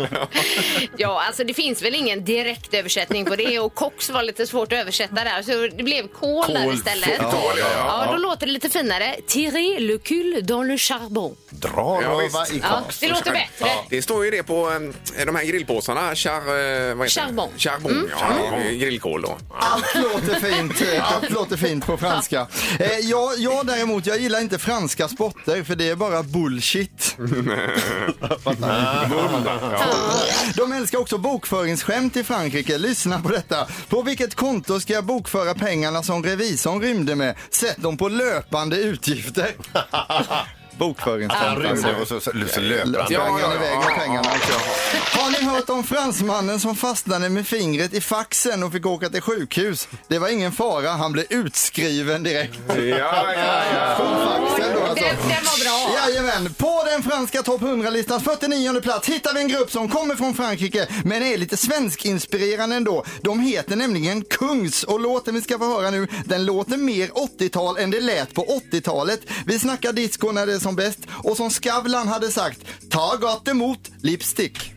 S5: Ja, alltså det finns väl ingen direkt översättning på det och koks var lite svårt att översätta där så det blev kol där
S3: Kol,
S5: istället.
S3: kol, ja, ja, ja.
S5: då låter det lite finare. Tirer le cul dans le charbon.
S3: Dra
S2: Ja,
S3: röva
S2: visst.
S3: i
S5: Ja,
S3: kox.
S5: det låter bättre.
S2: Det står ju det på eh, de här grillpåsarna. Char, eh, vad heter
S5: Charbon.
S2: Det? Charbon, ja. eh, Grillkol då.
S4: Allt låter fint, eh, allt låter fint på franska. Eh, jag, jag däremot, jag gillar inte franska spotter för det är bara bullshit. De älskar också bokföringsskämt i Frankrike. Lyssna på detta. På vilket konto ska jag bokföra pengarna som revisorn rymde med? Sätt dem på löpande utgifter.
S3: Han
S4: Bokföringsskämt alltså.
S3: rymde och så, så, så löper
S4: Sprang
S3: han.
S2: Ja,
S4: han
S2: ja,
S4: iväg
S2: ja,
S4: med
S2: ja.
S4: pengarna också. Har ni hört om fransmannen som fastnade med fingret i faxen och fick åka till sjukhus? Det var ingen fara, han blev utskriven direkt.
S2: Ja, ja, ja.
S4: Från faxen då alltså.
S5: Den, den var bra.
S4: Jajamän, på den franska topp 100-listans 49 plats hittar vi en grupp som kommer från Frankrike men är lite svenskinspirerande ändå. De heter nämligen Kungs och låten vi ska få höra nu den låter mer 80-tal än det lät på 80-talet. Vi snackar disco när det är som bäst och som Skavlan hade sagt, ta gott emot lipstick.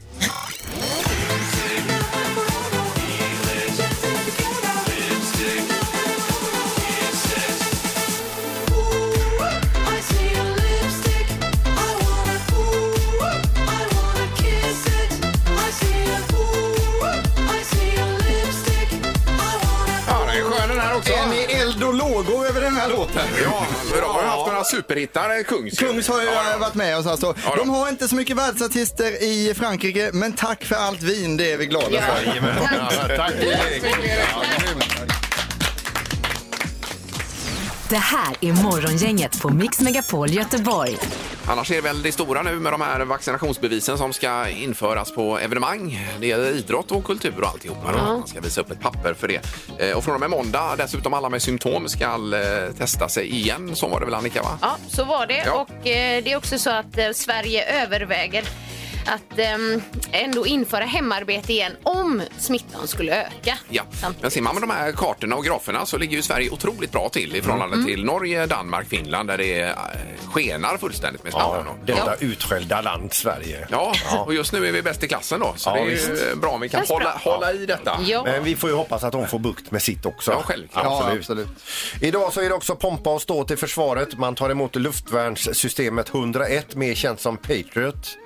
S2: Ja, den är skön den här också.
S4: Är ni eld och lågor över den här låten?
S2: Ja, bra. Har du haft några superhittar, eh, Kungs?
S4: Kungs har ju
S2: Ja,
S4: varit med oss alltså.
S2: Ja, då.
S4: De har inte så mycket världsartister i Frankrike, men tack för allt vin, det är vi glada för.
S3: Tack.
S1: Det här är Morgongänget på Mix Megapol Göteborg.
S2: Annars är det väl det stora nu med de här vaccinationsbevisen som ska införas på evenemang. Det är idrott och kultur och alltihopa. då. Man ska visa upp ett papper för det. Eh, Och från och med måndag, dessutom alla med symptom ska eh, testa sig igen. Så var det väl Annika? Va?
S5: Ja, så var det.
S2: Ja.
S5: Och eh, det är också så att eh, Sverige överväger att ehm, ändå införa hemarbete igen om smittan skulle öka.
S2: Ja,
S5: Samtidigt.
S2: men ser man med de här kartorna och graferna så ligger ju Sverige otroligt bra till i förhållande
S5: Mm.
S2: till Norge, Danmark, Finland där det eh, skenar fullständigt med
S3: Ja,
S2: smittan. då.
S3: detta utskällda land Sverige.
S2: Ja, och just nu är vi bäst i klassen då, så
S3: Ja,
S2: det är ju
S3: visst.
S2: bra om vi kan
S5: Känns bra.
S2: hålla, hålla i detta.
S5: Ja.
S3: Men vi får ju hoppas att de får bukt med sitt också.
S2: Ja, självklart.
S4: Ja, absolut.
S3: Idag så är det också pompa och stå till försvaret. Man tar emot luftvärnssystemet
S5: Mm.
S3: 101, mer känt som Patriot.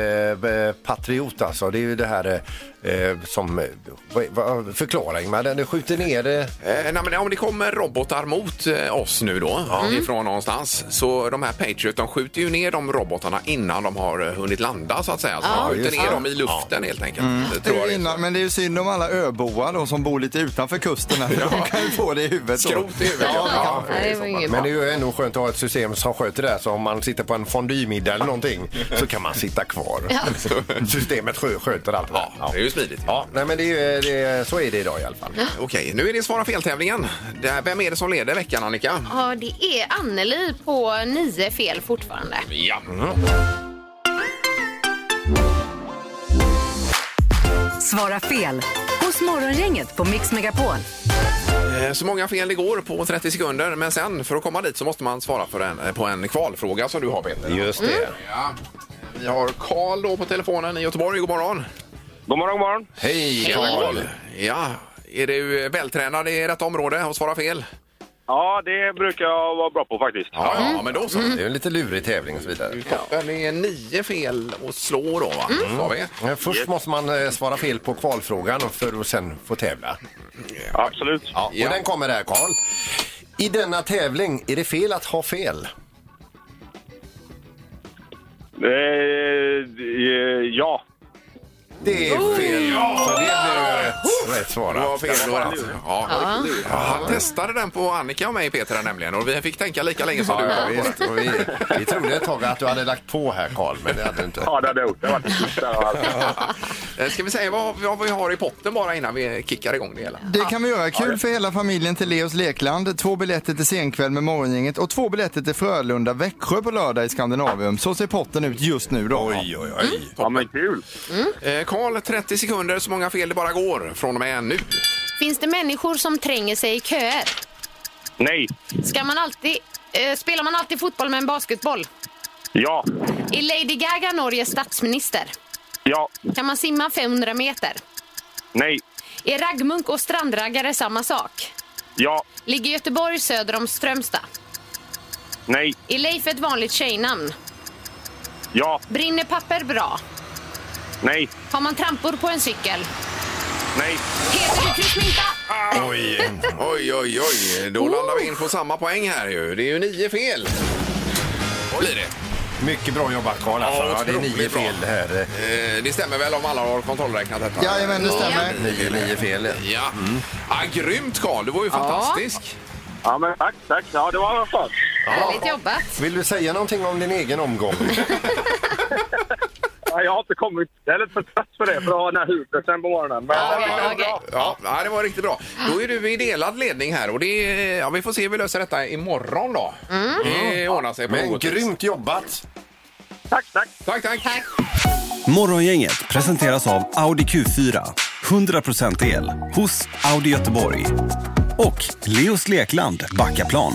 S3: Eh, b- Patriot alltså, det är ju det här eh, som eh, vad, vad, förklaring, men den skjuter ner det.
S2: Eh, nej, men om det kommer robotar mot eh, oss nu då,
S4: Mm.
S2: ifrån någonstans, så de här Patriot de skjuter ju ner de robotarna innan de har eh, hunnit landa så att säga. Så
S4: Ja,
S2: de skjuter
S4: just
S2: ner
S4: det. Mm.
S2: dem i luften helt enkelt. Det tror jag det är.
S4: Innan, men det är ju synd om alla öboar då, som bor lite utanför kusten. Här, för De kan ju få det i huvudet. då.
S2: Skrot i huvudet,
S4: Ja, det kan man få.
S5: Nej, det var inget bra.
S3: Men det är ju ändå skönt att ha ett system som sköter det här. Så om man sitter på en fondymiddag eller någonting så kan man sitta kvar.
S5: Ja.
S3: Systemet skö- sköter allt det där. Ja,
S2: Det är ju smidigt.
S3: Ja, nej, men det är, ju- eh, det är, så är det idag i alla fall.
S2: Okej, nu är det Svara fel-tävlingen. Det här- Vem är det som leder veckan, Annika?
S5: Ja, det är Anneli på nio fel fortfarande.
S2: Ja.
S4: Mm.
S1: Svara fel hos Morgongänget på Mix Megapol.
S2: Eh, Så många fel det går på 30 sekunder, men sen för att komma dit så måste man svara för en, eh, på en kvalfråga som du har, Peter. Mm.
S3: Just det.
S2: Ja. Vi har Karl då på telefonen i Göteborg. God morgon!
S8: God morgon, god morgon.
S3: Hej Karl!
S2: Ja, är du vältränad i rätt område och svara fel?
S8: Ja, det brukar jag vara bra på faktiskt. Mm.
S2: Ja, ja men då så.
S3: Det är en lite lurig tävling och så
S5: Mm.
S3: vidare.
S2: Toppen är nio fel och slå då, va?
S8: Mm.
S2: Sa vi.
S3: Men först måste man eh, svara fel på kvalfrågan för att sen få tävla.
S8: Absolut.
S3: Ja, och
S2: Ja.
S3: den kommer där Karl. I denna tävling, är det fel att ha fel?
S8: Eh, eh, ja.
S3: Det är fel. Så det blir rätt
S2: Det var
S3: svarat.
S2: fel då. alltså. Ja. Ja. Han testade den på Annika och mig, Peter, här nämligen. Och vi fick tänka lika länge som
S3: Ja,
S2: du.
S3: ja,
S2: Karl.
S3: visst. Och vi, vi trodde ett tag att du hade lagt på här Karl, men det hade du inte.
S8: Ja, det hade jag gjort. Det var det alltså.
S2: Eh, Ska vi säga vad, vad vi har i potten bara innan vi kickar igång det hela?
S4: Det kan vi göra. Kul för hela familjen till Leos Lekland. Två biljetter till senkväll med Morgongänget och två biljetter till Frölunda-Växjö på lördag i Skandinavium. Så ser potten ut just nu då.
S3: Oj, oj, oj.
S8: Ja, men kul.
S2: Eh, Karl, 30 sekunder, så många fel det bara går från och med nu.
S5: Finns det människor som tränger sig i köer?
S8: Nej.
S5: Ska man alltid, eh, spelar man alltid fotboll med en basketboll?
S8: Ja.
S5: Är Lady Gaga Norges statsminister?
S8: Ja.
S5: Kan man simma 500 meter?
S8: Nej.
S5: Är raggmunk och strandraggare samma sak?
S8: Ja.
S5: Ligger Göteborg söder om Strömstad?
S8: Nej.
S5: Är Leif ett vanligt tjejnamn?
S8: Ja.
S5: Brinner papper bra?
S8: Nej.
S5: Har man trampor på en cykel?
S8: Nej.
S5: Heter du Kryssminta?
S2: Oj, oj, oj, oj. Då landar vi in på samma poäng här ju. Det är ju nio fel. Vad blir det?
S3: Mycket bra jobbat Karl. Alltså.
S2: Ja,
S3: Ja, det är
S2: otroligt
S3: nio
S2: bra.
S3: fel det här.
S2: Eh, det stämmer väl om alla har kontrollräknat detta?
S4: Jajamän, det stämmer.
S3: Nio, nio fel.
S2: Ja. Ah, grymt Karl, du var ju fantastisk.
S8: Ja, men tack, tack. Ja, det var skönt.
S5: Härligt jobbat.
S3: Vill du säga någonting om din egen omgång?
S8: Ja, jag har inte kommit... Jag är lite för trött för det, för att ha den här husen på morgonen. Men
S5: Ja,
S8: det var
S5: okej,
S8: bra.
S2: Ja, ja, det var riktigt bra. Då är du i delad ledning här och det, är- ja, vi får se hur vi löser detta imorgon då. Det ordnar sig på
S3: Men
S2: något vis.
S3: grymt jobbat!
S8: Tack, tack.
S2: Tack, tack.
S5: Tack.
S9: Morgongänget presenteras av Audi Q4. 100% el hos Audi Göteborg. Och Leos Lekland Backaplan.